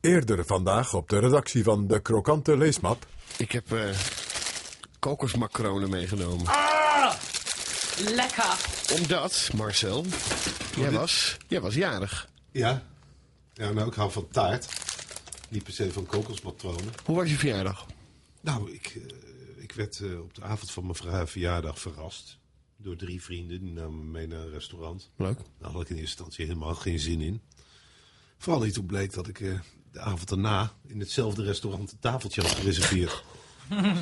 Eerder vandaag op de redactie van De Krokante Leesmap. Ik heb eh kokosmacronen meegenomen. Ah! Lekker. Omdat, Marcel, jij dit- was, jij was jarig. Ja. Ja, nou, ik hou van taart. Niet per se van kokosmatronen. Hoe was je verjaardag? Nou, ik, eh, ik werd eh, op de avond van mijn vra- verjaardag verrast. Door drie vrienden. Die namen me mee naar een restaurant. Leuk. Daar had ik in eerste instantie helemaal geen zin in. Vooral niet toen bleek dat ik eh, de avond daarna in hetzelfde restaurant een tafeltje had gereserveerd.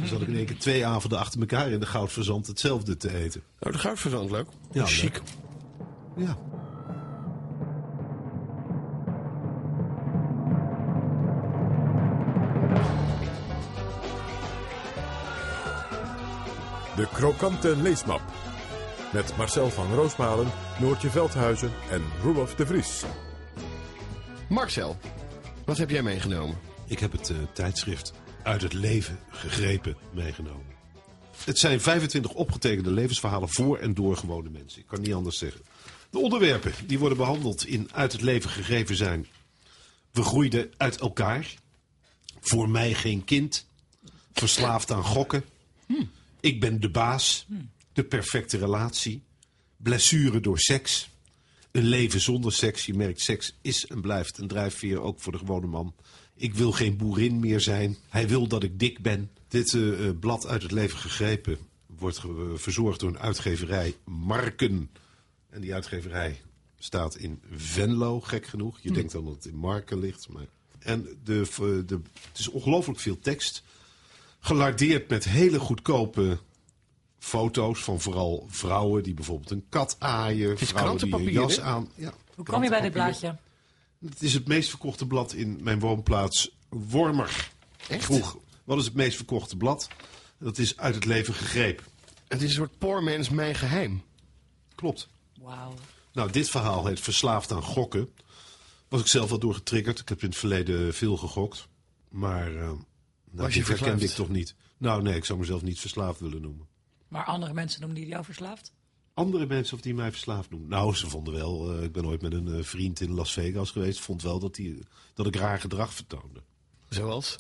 dus had ik in één keer twee avonden achter elkaar in de goudverzand hetzelfde te eten. Oh, de goudverzand, leuk. Ja, Chic. Ja. De Krokante Leesmap. Met Marcel van Roosmalen, Noortje Veldhuizen en Roelof de Vries. Marcel, wat heb jij meegenomen? Ik heb het eh, tijdschrift Uit het Leven gegrepen meegenomen. Het zijn 25 opgetekende levensverhalen voor en door gewone mensen. Ik kan niet anders zeggen. De onderwerpen die worden behandeld in Uit het Leven gegrepen zijn. We groeiden uit elkaar. Voor mij geen kind. Verslaafd aan gokken. Ik ben de baas. De perfecte relatie. Blessure door seks. Een leven zonder seks. Je merkt, seks is en blijft een drijfveer, ook voor de gewone man. Ik wil geen boerin meer zijn. Hij wil dat ik dik ben. Dit eh, eh, blad uit het leven gegrepen wordt ge- eh, verzorgd door een uitgeverij Marken. En die uitgeverij staat in Venlo, gek genoeg. Hm. Je denkt dan dat het in Marken ligt. Maar... En de, v- de, het is ongelooflijk veel tekst. Gelardeerd met hele goedkope foto's van vooral vrouwen die bijvoorbeeld een kat aaien. is vrouwen die een krantenpapier, jas hè? aan. Ja, Hoe kom je bij dit blaadje? het is het meest verkochte blad in mijn woonplaats Wormer. Echt? Vroeg, wat is het meest verkochte blad? Dat is uit het leven gegrepen. Het is een soort poor man's mijn geheim. Klopt. Wauw. Nou, dit verhaal heet Verslaafd aan gokken. Was ik zelf wel door getriggerd. Ik heb in het verleden veel gegokt. Maar eh Was nou, je dit verslaafd? herkende ik toch niet. Nou nee, ik zou mezelf niet verslaafd willen noemen. Maar andere mensen noemen die jou verslaafd? Andere mensen of die mij verslaafd noemen. Nou, ze vonden wel. eh, ik ben ooit met een eh, vriend in Las Vegas geweest. Vond wel dat, die, dat ik raar gedrag vertoonde. Zoals?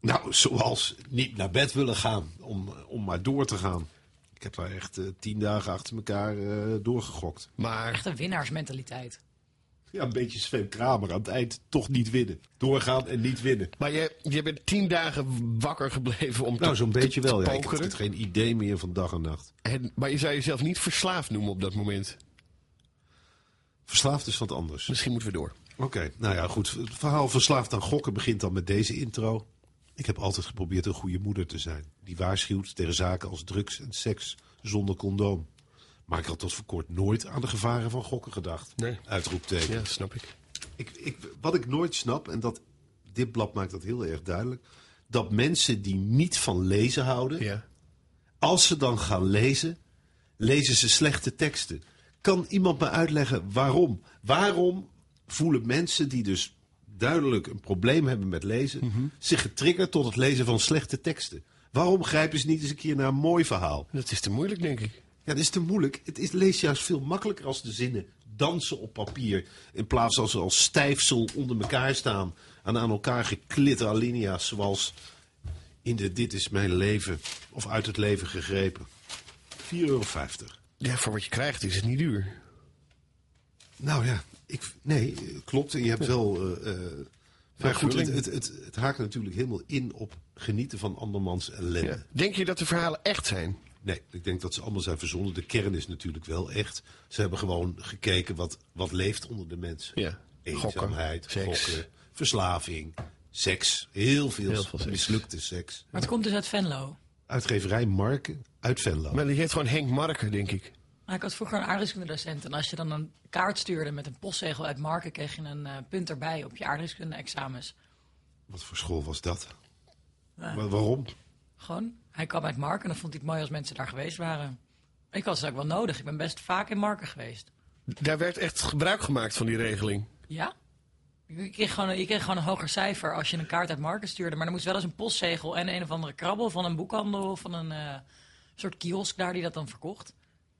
Nou, zoals niet naar bed willen gaan om, om maar door te gaan. Ik heb daar echt eh, tien dagen achter elkaar eh, doorgegokt. Maar Echt een winnaarsmentaliteit. Ja, een beetje Sven Kramer aan het eind toch niet winnen. Doorgaan en niet winnen. Maar je, je bent tien dagen wakker gebleven om Nou, te, zo'n te- beetje te wel. Ja. Ik heb pokeren. echt geen idee meer van dag en nacht. En, maar je zou jezelf niet verslaafd noemen op dat moment. Verslaafd is wat anders. Misschien moeten we door. Oké, nou ja, goed. Het verhaal Verslaafd aan gokken begint dan met deze intro. Ik heb altijd geprobeerd een goede moeder te zijn. Die waarschuwt tegen zaken als drugs en seks zonder condoom. Maar ik had tot voor kort nooit aan de gevaren van gokken gedacht. Nee. Uitroepteken. Ja, snap ik. Ik, ik, wat ik nooit snap, en dat, dit blad maakt dat heel erg duidelijk... dat mensen die niet van lezen houden... Ja. als ze dan gaan lezen, lezen ze slechte teksten. Kan iemand me uitleggen waarom? Waarom voelen mensen die dus duidelijk een probleem hebben met lezen... zich getriggerd tot het lezen van slechte teksten? Waarom grijpen ze niet eens een keer naar een mooi verhaal? Dat is te moeilijk, denk ik. Ja, dat is te moeilijk. Het is, lees juist veel makkelijker als de zinnen dansen op papier. In plaats van ze als stijfsel onder elkaar staan. En aan elkaar geklitte alinea's zoals in de Dit is mijn leven. Of uit het leven gegrepen. 4,50 euro. Ja, voor wat je krijgt is het niet duur. Nou ja, ik, nee, eh, klopt. En je hebt wel... eh, eh, maar goed, het, het, het, het haakt natuurlijk helemaal in op genieten van andermans ellende. Ja. Denk je dat de verhalen echt zijn? Nee, ik denk dat ze allemaal zijn verzonnen. De kern is natuurlijk wel echt. Ze hebben gewoon gekeken wat, wat leeft onder de mensen. Ja. Eenzaamheid, Gokken, gokken, seks. verslaving, seks. Heel veel, Heel veel seks. mislukte seks. Maar het komt dus uit Venlo. Uitgeverij Marken uit Venlo. Maar die heet gewoon Henk Marker, denk ik. Maar Nou, ik had vroeger een aardrijkskundedocent. En als je dan een kaart stuurde met een postzegel uit Marken... kreeg je een eh, punt erbij op je aardrijkskunde-examens. Wat voor school was dat? Wa- waarom? Gewoon, hij kwam uit Marken en dan vond hij het mooi als mensen daar geweest waren. Ik had het ook wel nodig. Ik ben best vaak in Marken geweest. Daar werd echt gebruik gemaakt van die regeling. Ja? Je kreeg, gewoon, je kreeg gewoon een hoger cijfer als je een kaart uit Marken stuurde. Maar er moest wel eens een postzegel en een of andere krabbel van een boekhandel... of van een eh, soort kiosk daar die dat dan verkocht.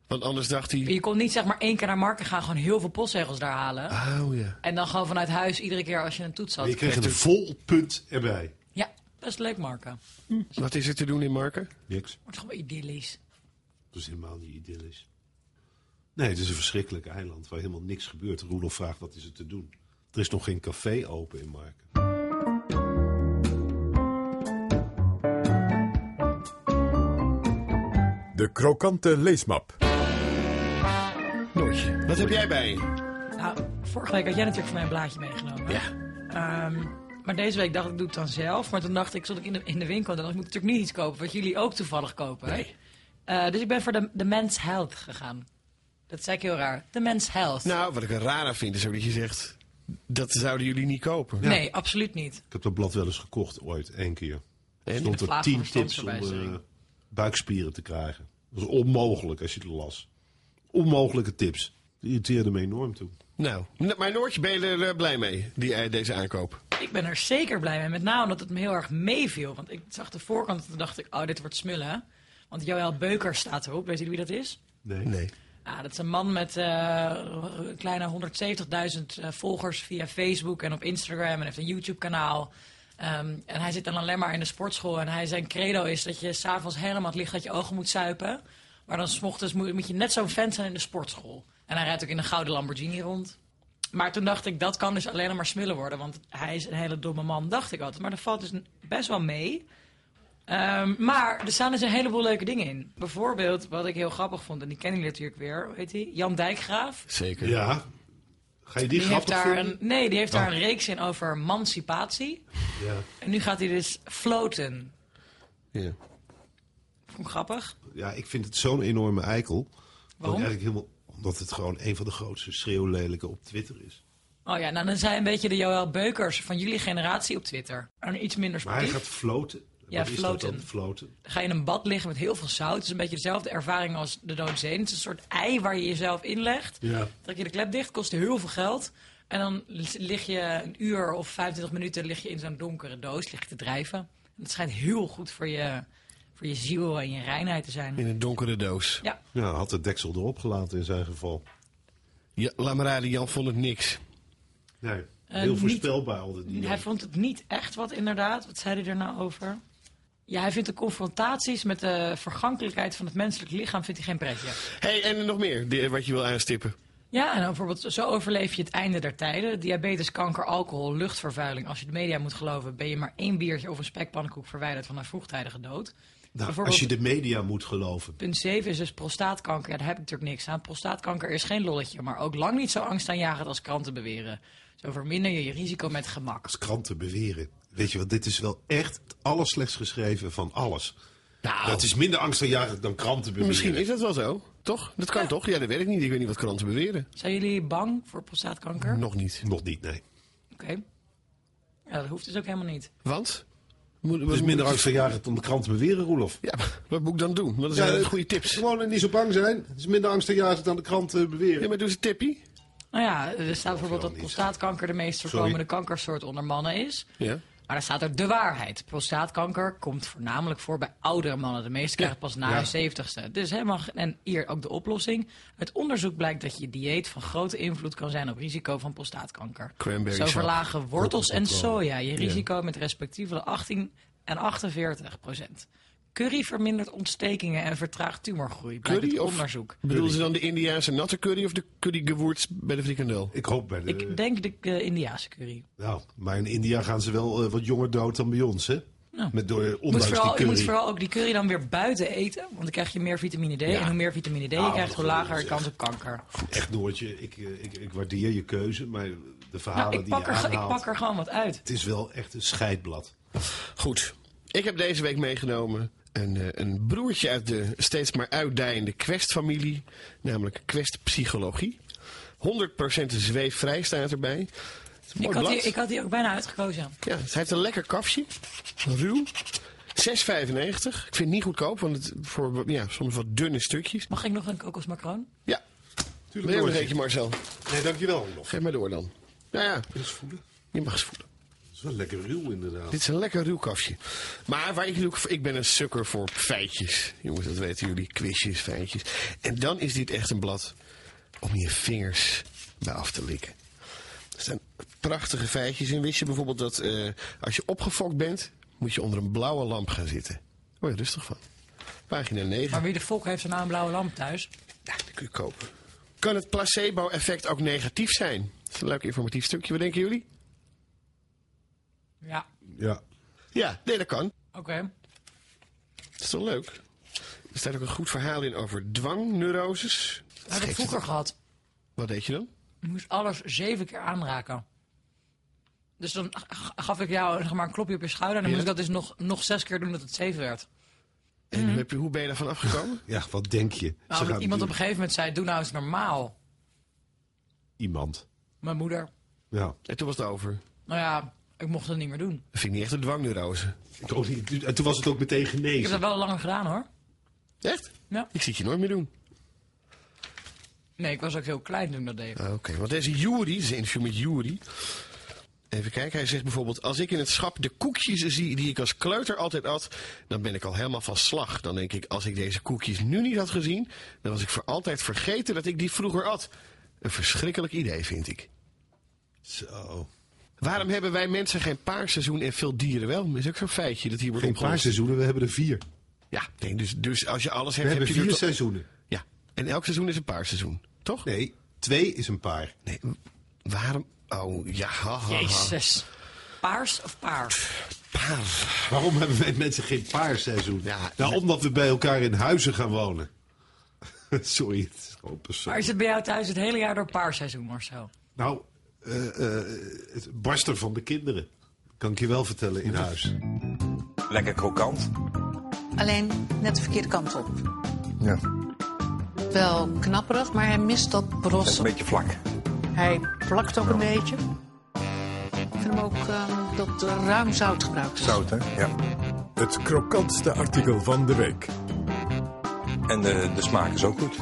Want anders dacht hij... Je kon niet zeg maar één keer naar Marken gaan, gewoon heel veel postzegels daar halen. Oh ja. En dan gewoon vanuit huis iedere keer als je een toets had. Je kreeg een vol punt erbij. Ja, best leuk Marken. Wat is er te doen in Marken? Niks. Wordt gewoon idyllisch. Dat is helemaal niet idyllisch. Nee, het is een verschrikkelijk eiland waar helemaal niks gebeurt. Roelof vraagt wat is er te doen. Er is nog geen café open in Marken. De krokante leesmap. Noortje. Wat heb jij bij je? Nou, vorige week had jij natuurlijk voor mij een blaadje meegenomen. Ja. Ehm, maar deze week dacht ik, doe het dan zelf. Maar toen dacht ik, zat ik in de, in de winkel. En dan moet ik natuurlijk niet iets kopen wat jullie ook toevallig kopen. hè? Eh, dus ik ben voor de, de Men's Health gegaan. Dat zei ik heel raar. De Men's Health. Nou, wat ik er raar aan vind is ook dat je zegt... Dat zouden jullie niet kopen. Nee, absoluut niet. Ik heb dat blad wel eens gekocht ooit, één keer. Er En? stond De er vlaag tien van tips om verstandsverwijzering. eh, buikspieren te krijgen. Dat was onmogelijk als je het las. Onmogelijke tips. Die irriteerde me enorm toe. Nou, n- maar Noortje, ben je er eh, blij mee, die, eh, deze aankoop? Ik ben er zeker blij mee. Met name omdat het me heel erg meeviel. Want ik zag de voorkant en toen dacht ik, oh, dit wordt smullen. Want Joël Beuker staat erop. Weet jullie wie dat is? Nee. Ja, Ah, dat is een man met eh, een kleine 170.000 eh, volgers via Facebook en op Instagram en heeft een YouTube-kanaal. Ehm, en hij zit dan alleen maar in de sportschool. En hij, zijn credo is dat je s'avonds helemaal het licht uit je ogen moet zuipen. Maar dan 's ochtends moet, moet je net zo'n fan zijn in de sportschool. En hij rijdt ook in een gouden Lamborghini rond. Maar toen dacht ik, dat kan dus alleen maar smullen worden. Want hij is een hele domme man, dacht ik altijd. Maar dat valt dus best wel mee. Ehm, maar er staan dus een heleboel leuke dingen in. Bijvoorbeeld, wat ik heel grappig vond, en die kennen jullie natuurlijk weer, hoe heet die? Jan Dijkgraaf. Zeker. Ja. Ga je die, heeft grappig Oh. daar vinden? een, nee, die heeft daar een reeks in over emancipatie. Ja. En nu gaat hij dus floten. Ja. Vond ik grappig. ja, ik vind het zo'n enorme eikel. Dat ik Waarom? eigenlijk helemaal, omdat het gewoon een van de grootste schreeuwlelijken op Twitter is. Oh ja, nou dan zijn een beetje de Joël Beukers van jullie generatie op Twitter. En iets minder Maar hij sportief. gaat floten. Ja, Wat is dat floten. dan, floten? Dan ga je in een bad liggen met heel veel zout. Het is een beetje dezelfde ervaring als de doodzee. Het is een soort ei waar je jezelf inlegt. Ja. Trek je de klep dicht, kost heel veel geld. En dan lig je een uur of 25 minuten lig je in zo'n donkere doos lig je te drijven. En dat schijnt heel goed voor je, voor je ziel en je reinheid te zijn. In een donkere doos. Ja, Ja, had de deksel erop gelaten in zijn geval. Ja, laat maar raden, Jan vond het niks. Nee, heel Eh, niet- voorspelbaar al die dingen. hij vond het niet echt wat inderdaad. Wat zei hij er nou over? Ja, hij vindt de confrontaties met de vergankelijkheid van het menselijk lichaam vindt hij geen pretje. hey, en er nog meer die- eh, wat je wil aanstippen. Ja, en dan bijvoorbeeld zo overleef je het einde der tijden. Diabetes, kanker, alcohol, luchtvervuiling. Als je de media moet geloven, ben je maar één biertje of een spekpannenkoek verwijderd van een vroegtijdige dood. Nou, Bijvoorbeeld- als je de media moet geloven. Punt 7 is dus prostaatkanker. Ja, daar heb ik natuurlijk niks aan. Prostaatkanker is geen lolletje, maar ook lang niet zo angstaanjagend als kranten beweren. Zo verminder je je risico met gemak. Als kranten beweren. Weet je wat, dit is wel echt het allerslechtst geschreven van alles. Nou, Dat is minder angstaanjagend dan kranten beweren. misschien is dat wel zo. Toch? Dat kan toch? Ja, dat weet ik niet. Ik weet niet wat kranten beweren. Zijn jullie bang voor prostaatkanker? Nog niet. Nog niet, nee. Oké. Ja, dat hoeft dus ook helemaal niet. Want? Moet, Het is wat- minder angstaanjagend dan de kranten beweren, Roelof. Ja, maar wat moet ik dan doen? Want dat Ja, eh, zijn dat- goede tips. Gewoon niet zo bang zijn. Het is minder angstaanjagend dan de kranten beweren. Ja, maar doe eens een tippie. Nou ja, er staat bijvoorbeeld dat niet. prostaatkanker de meest voorkomende kankersoort onder mannen is. Ja. Maar daar staat er de waarheid. Prostaatkanker komt voornamelijk voor bij oudere mannen. De meeste krijgen het pas na Ja. hun zeventigste. Dus helemaal, ge- en hier ook de oplossing. Het onderzoek blijkt dat je dieet van grote invloed kan zijn op risico van prostaatkanker. Cranberry Zo sap. verlagen wortels en soja je risico met respectievelijk 18 en 48 procent. Curry vermindert ontstekingen en vertraagt tumorgroei. Blijkt Curry uit of- onderzoek. Bedoelen ze dan de Indiaanse natte curry of de curry gewoerd bij de frikandel? Ik hoop bij de... Ik denk de eh, Indiaanse curry. Nou, maar in India gaan ze wel eh, wat jonger dood dan bij ons, hè? Met door, Je moet, ondanks vooral, die je moet curry. vooral ook die curry dan weer buiten eten. Want dan krijg je meer vitamine D. En hoe meer vitamine D je Ah, krijgt, wat hoe goed lager de gezegd. kans op kanker. Echt, Noortje, ik, eh, ik, ik waardeer je keuze, maar de verhalen Nou, ik, die je pak er, ge- ik aanhaalt... pak er gewoon wat uit. Het is wel echt een scheidblad. Goed. Ik heb deze week meegenomen een, eh, een broertje uit de steeds maar uitdijende Quest-familie. Namelijk Quest Psychologie. 100% zweefvrij staat erbij. Het is een mooi Ik had, blad. die, ik had die ook bijna uitgekozen. Ja, het heeft een lekker kafje. Ruw. 6,95. Ik vind het niet goedkoop, want het voor ja, soms wat dunne stukjes. Mag ik nog een kokosmacroon? Ja, Tuurlijk, wil je nog eentje Marcel? Nee, dankjewel, Roelof. Geef maar door dan. Nou ja, Eens voelen. je mag eens voelen. Eens is wel lekker ruw inderdaad. Dit is een lekker ruw kafje. Maar waar ik, natuurlijk- ik ben een sukker voor feitjes. Jongens, dat weten jullie. Quizjes, feitjes. En dan is dit echt een blad om je vingers bij af te likken. Er staan prachtige feitjes in. Wist je bijvoorbeeld dat eh, als je opgefokt bent, moet je onder een blauwe lamp gaan zitten. Daar word je rustig van. Pagina 9. Maar wie de fok heeft er nou een blauwe lamp thuis? Ja, die kun je kopen. Kan het placebo-effect ook negatief zijn? Dat is een leuk informatief stukje. Wat denken jullie? Ja, Ja. Ja, nee, dat kan. oké. Dat is toch leuk? Er staat ook een goed verhaal in over dwangneuroses. Dat heb ik Geeft vroeger het- gehad. Wat deed je dan? Ik moest alles zeven keer aanraken. Dus dan g- gaf ik jou zeg maar, een klopje op je schouder. En dan Ja. moest ik dat dus nog, nog zes keer doen dat het zeven werd. En hoe heb je, hoe ben je daarvan afgekomen? ja, wat denk je? Nou, Ze omdat gaan iemand op een natuurlijk- gegeven moment zei, doe nou eens normaal. Iemand. Mijn moeder. Ja. en toen was het over. Nou ja, ik mocht het niet meer doen. Dat vind ik niet echt een dwangneurose. Ik ook niet. En toen was het ook meteen Ik heb genezen. dat wel langer gedaan hoor. Echt? Ja. Ik zie het je nooit meer doen. Nee, ik was ook heel klein toen ik dat deed. Ah, Oké, want deze Jury, dit is een interview met Jury. Even kijken, hij zegt bijvoorbeeld... Als ik in het schap de koekjes zie die ik als kleuter altijd at... dan ben ik al helemaal van slag. Dan denk ik, als ik deze koekjes nu niet had gezien... dan was ik voor altijd vergeten dat ik die vroeger at. Een verschrikkelijk idee, vind ik. Zo. Waarom hebben wij mensen geen paarseizoen en veel dieren wel? Is ook zo'n feitje dat hier wordt Geen paar opgelost. seizoenen, we hebben er vier. We Ja, nee, dus, dus als je alles hebt, hebben heb je vier er to- seizoenen. Ja, en elk seizoen is een paarseizoen, toch? Nee, twee is een paar. Nee, waarom? Oh, ja, ha, ha, ha. Jezus. Paars of paard? Paar. Waarom hebben wij mensen geen paarseizoen? Ja, nou, nee. omdat we bij elkaar in huizen gaan wonen. Sorry, het is gewoon Maar persoonlijk. is het bij jou thuis het hele jaar door paarseizoen, Marcel? Nou, eh, eh, het barsten van de kinderen. Kan ik je wel vertellen in huis. Lekker krokant. Alleen net de verkeerde kant op. Ja. Wel knapperig, maar hij mist dat Dat is een brossen. beetje vlak. Hij plakt ook een beetje. Ik vind hem ook ehm, dat er ruim zout gebruikt is. Zout, hè? Ja. Het krokantste artikel van de week. En eh, de, de smaak is ook goed.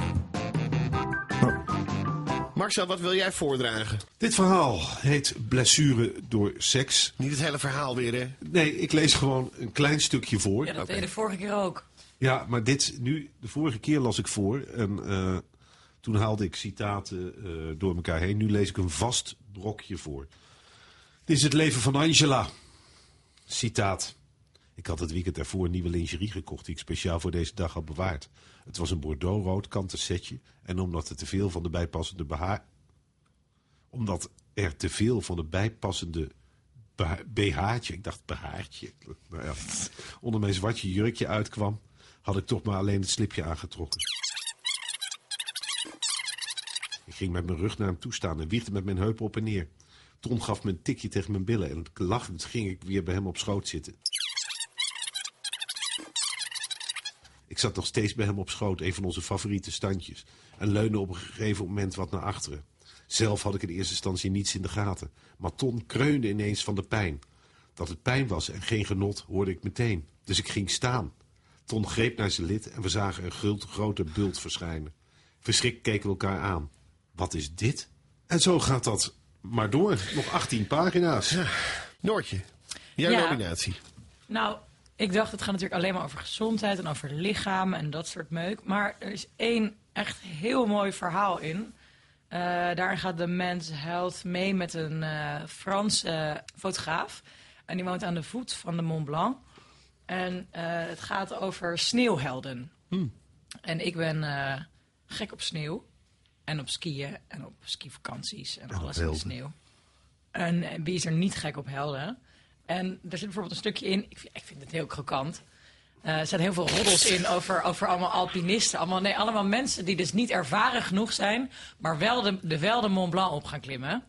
Marcel, wat wil jij voordragen? Dit verhaal heet Blessure door seks. Niet het hele verhaal weer, hè? Nee, ik lees gewoon een klein stukje voor. Ja, dat deed je de vorige keer ook. Ja, maar dit nu, de vorige keer las ik voor en eh, toen haalde ik citaten eh, door elkaar heen. Nu lees ik een vast brokje voor. Dit is het leven van Angela. Citaat. Ik had het weekend daarvoor een nieuwe lingerie gekocht die ik speciaal voor deze dag had bewaard. Het was een bordeauxrood kanten setje en omdat er te veel van de bijpassende BH... Omdat er te veel van de bijpassende BH BH'tje, ik dacht BH'tje, nou ja, onder mijn zwartje jurkje uitkwam, had ik toch maar alleen het slipje aangetrokken. Ik ging met mijn rug naar hem toe staan en wiegde met mijn heup op en neer. Tom gaf me een tikje tegen mijn billen en lachend ging ik weer bij hem op schoot zitten. Ik zat nog steeds bij hem op schoot, een van onze favoriete standjes. En leunde op een gegeven moment wat naar achteren. Zelf had ik in eerste instantie niets in de gaten. Maar Ton kreunde ineens van de pijn. Dat het pijn was en geen genot hoorde ik meteen. Dus ik ging staan. Ton greep naar zijn lid en we zagen een gult, grote bult verschijnen. Verschrikt keken we elkaar aan. Wat is dit? En zo gaat dat maar door. Nog 18 pagina's. Noortje, jouw Ja. nominatie. Nou, ik dacht, het gaat natuurlijk alleen maar over gezondheid en over lichaam en dat soort meuk. Maar er is één echt heel mooi verhaal in. Eh, daarin gaat de Men's Health mee met een eh Franse fotograaf. En die woont aan de voet van de Mont Blanc. En eh, het gaat over sneeuwhelden. En ik ben eh, gek op sneeuw. En op skiën en op skivakanties en, alles in de helden. sneeuw. En eh, wie is er niet gek op helden? En er zit bijvoorbeeld een stukje in. Ik vind, ik vind het heel krokant. Eh, er zijn heel veel roddels in over, over allemaal alpinisten. Allemaal, nee, allemaal mensen die dus niet ervaren genoeg zijn. maar wel de, de, wel de Mont Blanc op gaan klimmen.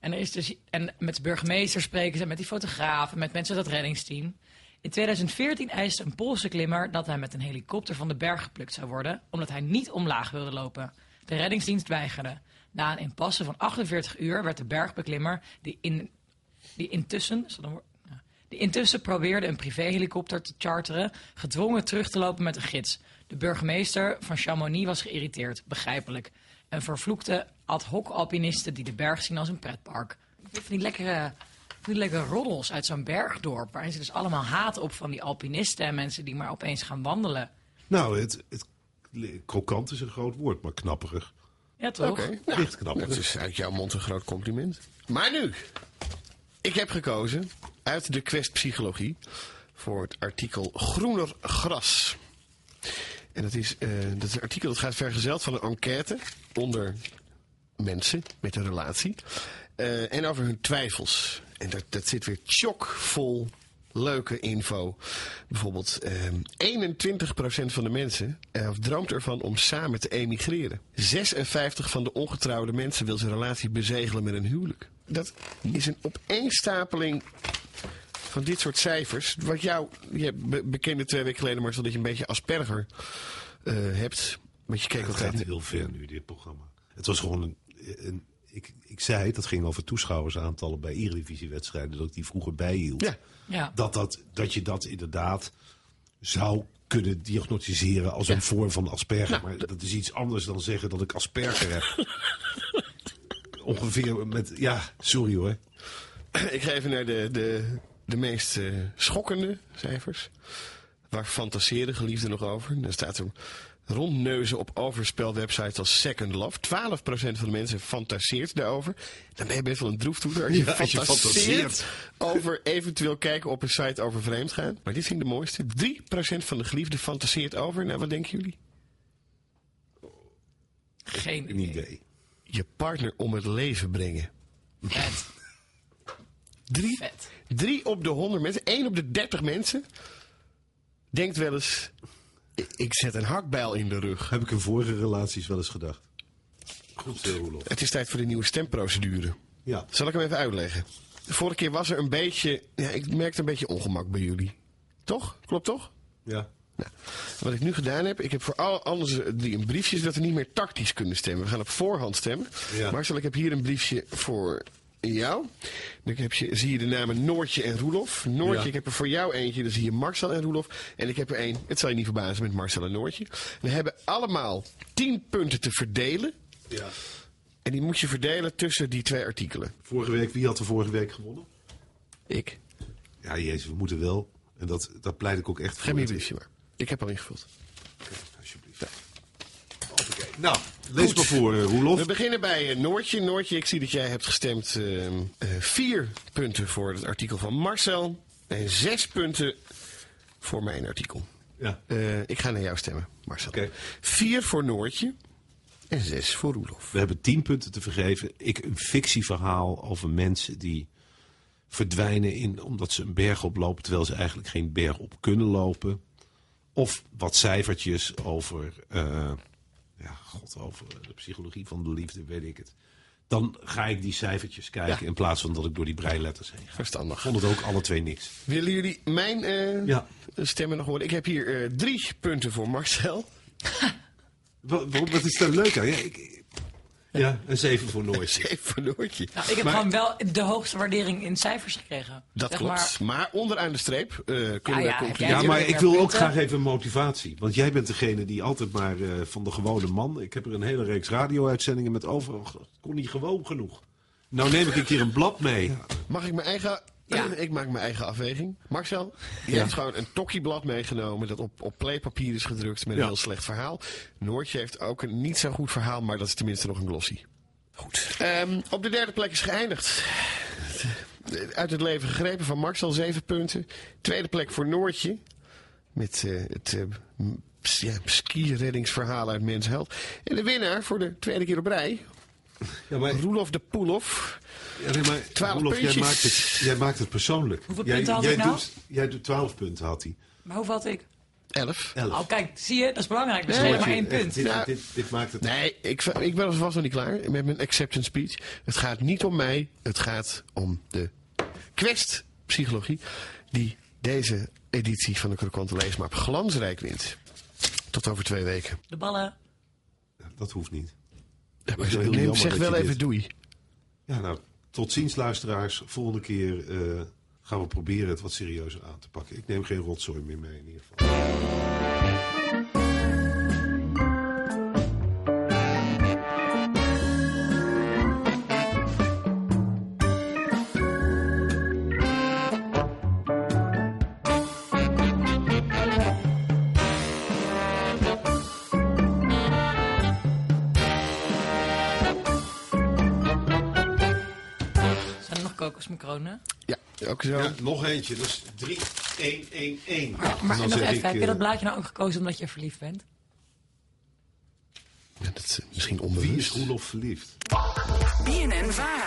En, er is dus, en met de burgemeester spreken ze, met die fotografen, met mensen uit dat reddingsteam. In 2014 eiste een Poolse klimmer dat hij met een helikopter van de berg geplukt zou worden, omdat hij niet omlaag wilde lopen. De reddingsdienst weigerde. Na een impasse van 48 uur werd de bergbeklimmer, die, in, die intussen. is dat een woord? Ja. Die intussen probeerde een privéhelikopter te charteren, gedwongen terug te lopen met een gids. De burgemeester van Chamonix was geïrriteerd, begrijpelijk. En vervloekte ad hoc alpinisten die de berg zien als een pretpark. Ik vind die lekkere vriendelijke roddels uit zo'n bergdorp. Waarin ze dus allemaal haat op van die alpinisten en mensen die maar opeens gaan wandelen. Nou, het, het, krokant is een groot woord, maar knapperig. Ja, toch? Oké. Nou, Licht knapperig. dat is uit jouw mond een groot compliment. Maar nu, ik heb gekozen uit de quest psychologie voor het artikel Groener gras. En dat is, eh, dat is een artikel dat gaat vergezeld van een enquête onder mensen met een relatie. eh, en over hun twijfels. En dat, dat zit weer chockvol leuke info. Bijvoorbeeld eh, 21% van de mensen eh, droomt ervan om samen te emigreren. 56% van de ongetrouwde mensen wil zijn relatie bezegelen met een huwelijk. Dat is een opeenstapeling van dit soort cijfers. Wat jou, je be- bekende twee weken geleden, Marcel, dat je een beetje Asperger eh, hebt. Want je keek Het altijd gaat heel ver nu, dit programma. Het was gewoon een... een- ik, ik zei, dat ging over toeschouwersaantallen bij Eredivisie-wedstrijden... dat ik die vroeger bijhield. Ja. Ja. Dat, dat, dat je dat inderdaad zou kunnen diagnosticeren als een vorm van Asperger. maar dat is iets anders dan zeggen dat ik Asperger heb. Ongeveer met... Ja, sorry hoor. Ik ga even naar de, de, de meest eh, schokkende cijfers. Waar fantaseren geliefden nog over. Daar staat er rondneuzen op overspelwebsites als Second Love. 12% van de mensen fantaseert daarover. Dan ben je best wel een droeftoeter als je, Ja, als je fantaseert fantaseert. over eventueel kijken op een site over vreemdgaan. Maar dit vind ik de mooiste. 3% van de geliefden fantaseert over. Nou, wat denken jullie? Geen Een idee. idee. Je partner om het leven brengen. Vet. Drie Vet. Drie op de 100 mensen, één op de 30 mensen, denkt wel eens: "I- ik zet een hakbijl in de rug. Heb ik in vorige relaties wel eens gedacht. Goed, eh, Roelof. Het is tijd voor de nieuwe stemprocedure. Ja. Zal ik hem even uitleggen? De vorige keer was er een beetje, ja, ik merkte een beetje ongemak bij jullie. Toch? Klopt toch? ja. Nou, wat ik nu gedaan heb, ik heb voor alle anderen die een briefje, zodat we niet meer tactisch kunnen stemmen. We gaan op voorhand stemmen. Ja. Marcel, ik heb hier een briefje voor jou. Dan heb je, zie je de namen Noortje en Roelof. Noortje, Ja. ik heb er voor jou eentje, dan zie je Marcel en Roelof. En ik heb er één, het zal je niet verbazen, met Marcel en Noortje. We hebben allemaal 10 punten te verdelen. ja. En die moet je verdelen tussen die twee artikelen. Vorige week, wie had er vorige week gewonnen? Ik. Ja, jezus, we moeten wel. En dat, dat pleit ik ook echt voor. Geef me je briefje maar. Ik heb al ingevuld. Alsjeblieft. Hoppakee. Nou, lees maar voor, eh, Roelof. We beginnen bij eh, Noortje. Noortje, ik zie dat jij hebt gestemd. eh, eh, vier punten voor het artikel van Marcel. En zes punten voor mijn artikel. Ja. Eh, ik ga naar jou stemmen, Marcel. Oké. Vier voor Noortje. En zes voor Roelof. We hebben tien punten te vergeven. Ik een fictieverhaal over mensen die verdwijnen in, omdat ze een berg oplopen... terwijl ze eigenlijk geen berg op kunnen lopen. Of wat cijfertjes over, eh, ja, god, over de psychologie van de liefde, weet ik het. Dan ga ik die cijfertjes kijken in plaats van dat ik door die breiletters heen ga. Verstandig. vond het ook alle twee niks. Willen jullie mijn eh, Ja. stemmen nog horen? Ik heb hier eh, drie punten voor Marcel. Wat, wat is daar leuk aan? Ja, ik- ja, een zeven voor Noortje. Zeven voor Noortje. Nou, ik heb Maar- gewoon wel de hoogste waardering in cijfers gekregen. Dat Zeg klopt. maar, Ah Maar, onderaan de streep eh, kunnen ja, we heb concluderen. jij Ja, maar ik meer wil ook punten. graag even motivatie. Want jij bent degene die altijd maar eh, van de gewone man. Ik heb er een hele reeks radio-uitzendingen met over. Och, dat Kon niet gewoon genoeg. Nou neem ik een keer een blad mee. Mag ik mijn eigen... Ja. Ik maak mijn eigen afweging. Marcel, je hebt gewoon een tokkieblad meegenomen dat op, op playpapier is gedrukt met een Ja. heel slecht verhaal. Noortje heeft ook een niet zo goed verhaal, maar dat is tenminste nog een glossy. Goed. op de derde plek is geëindigd. Uit het leven gegrepen van Marcel, zeven punten. Tweede plek voor Noortje. Met eh, het eh, m- ps- ja, ski-reddingsverhaal uit Mens Held. En de winnaar voor de tweede keer op rij, Ja, maar, Roelof de Poelof. ja, nee, maar Twaalf Roelof, jij puntjes. maakt, het, jij maakt het persoonlijk. Hoeveel jij, punten had jij ik nou? Doet, jij doet twaalf punten, had hij. maar hoeveel had ik? Elf. Elf. Oh, kijk, zie je? Dat is belangrijk. Dus alleen maar één Echt, punt. Dit, Nou, dit, dit maakt het... Nee, ik, ik ben alvast nog niet klaar met mijn acceptance speech. Het gaat niet om mij, het gaat om de quest-psychologie die deze editie van de Krokante Leesmap glansrijk wint. Tot over twee weken. De ballen. Dat hoeft niet. Ja, maar is wel heel neem, jammer zeg dat je wel even dit- doei. Ja, nou, tot ziens luisteraars. Volgende keer eh, gaan we proberen het wat serieuzer aan te pakken. Ik neem geen rotzooi meer mee in ieder geval. kroon, hè? Ja, ook zo. Ja, nog eentje, dus 3, 1, 1, 1. Maar en nog even, heb eh, eh, je dat blaadje nou ook gekozen omdat je verliefd bent? Ja, dat is misschien Wie is onbewust. Roelof verliefd? BNN Vara.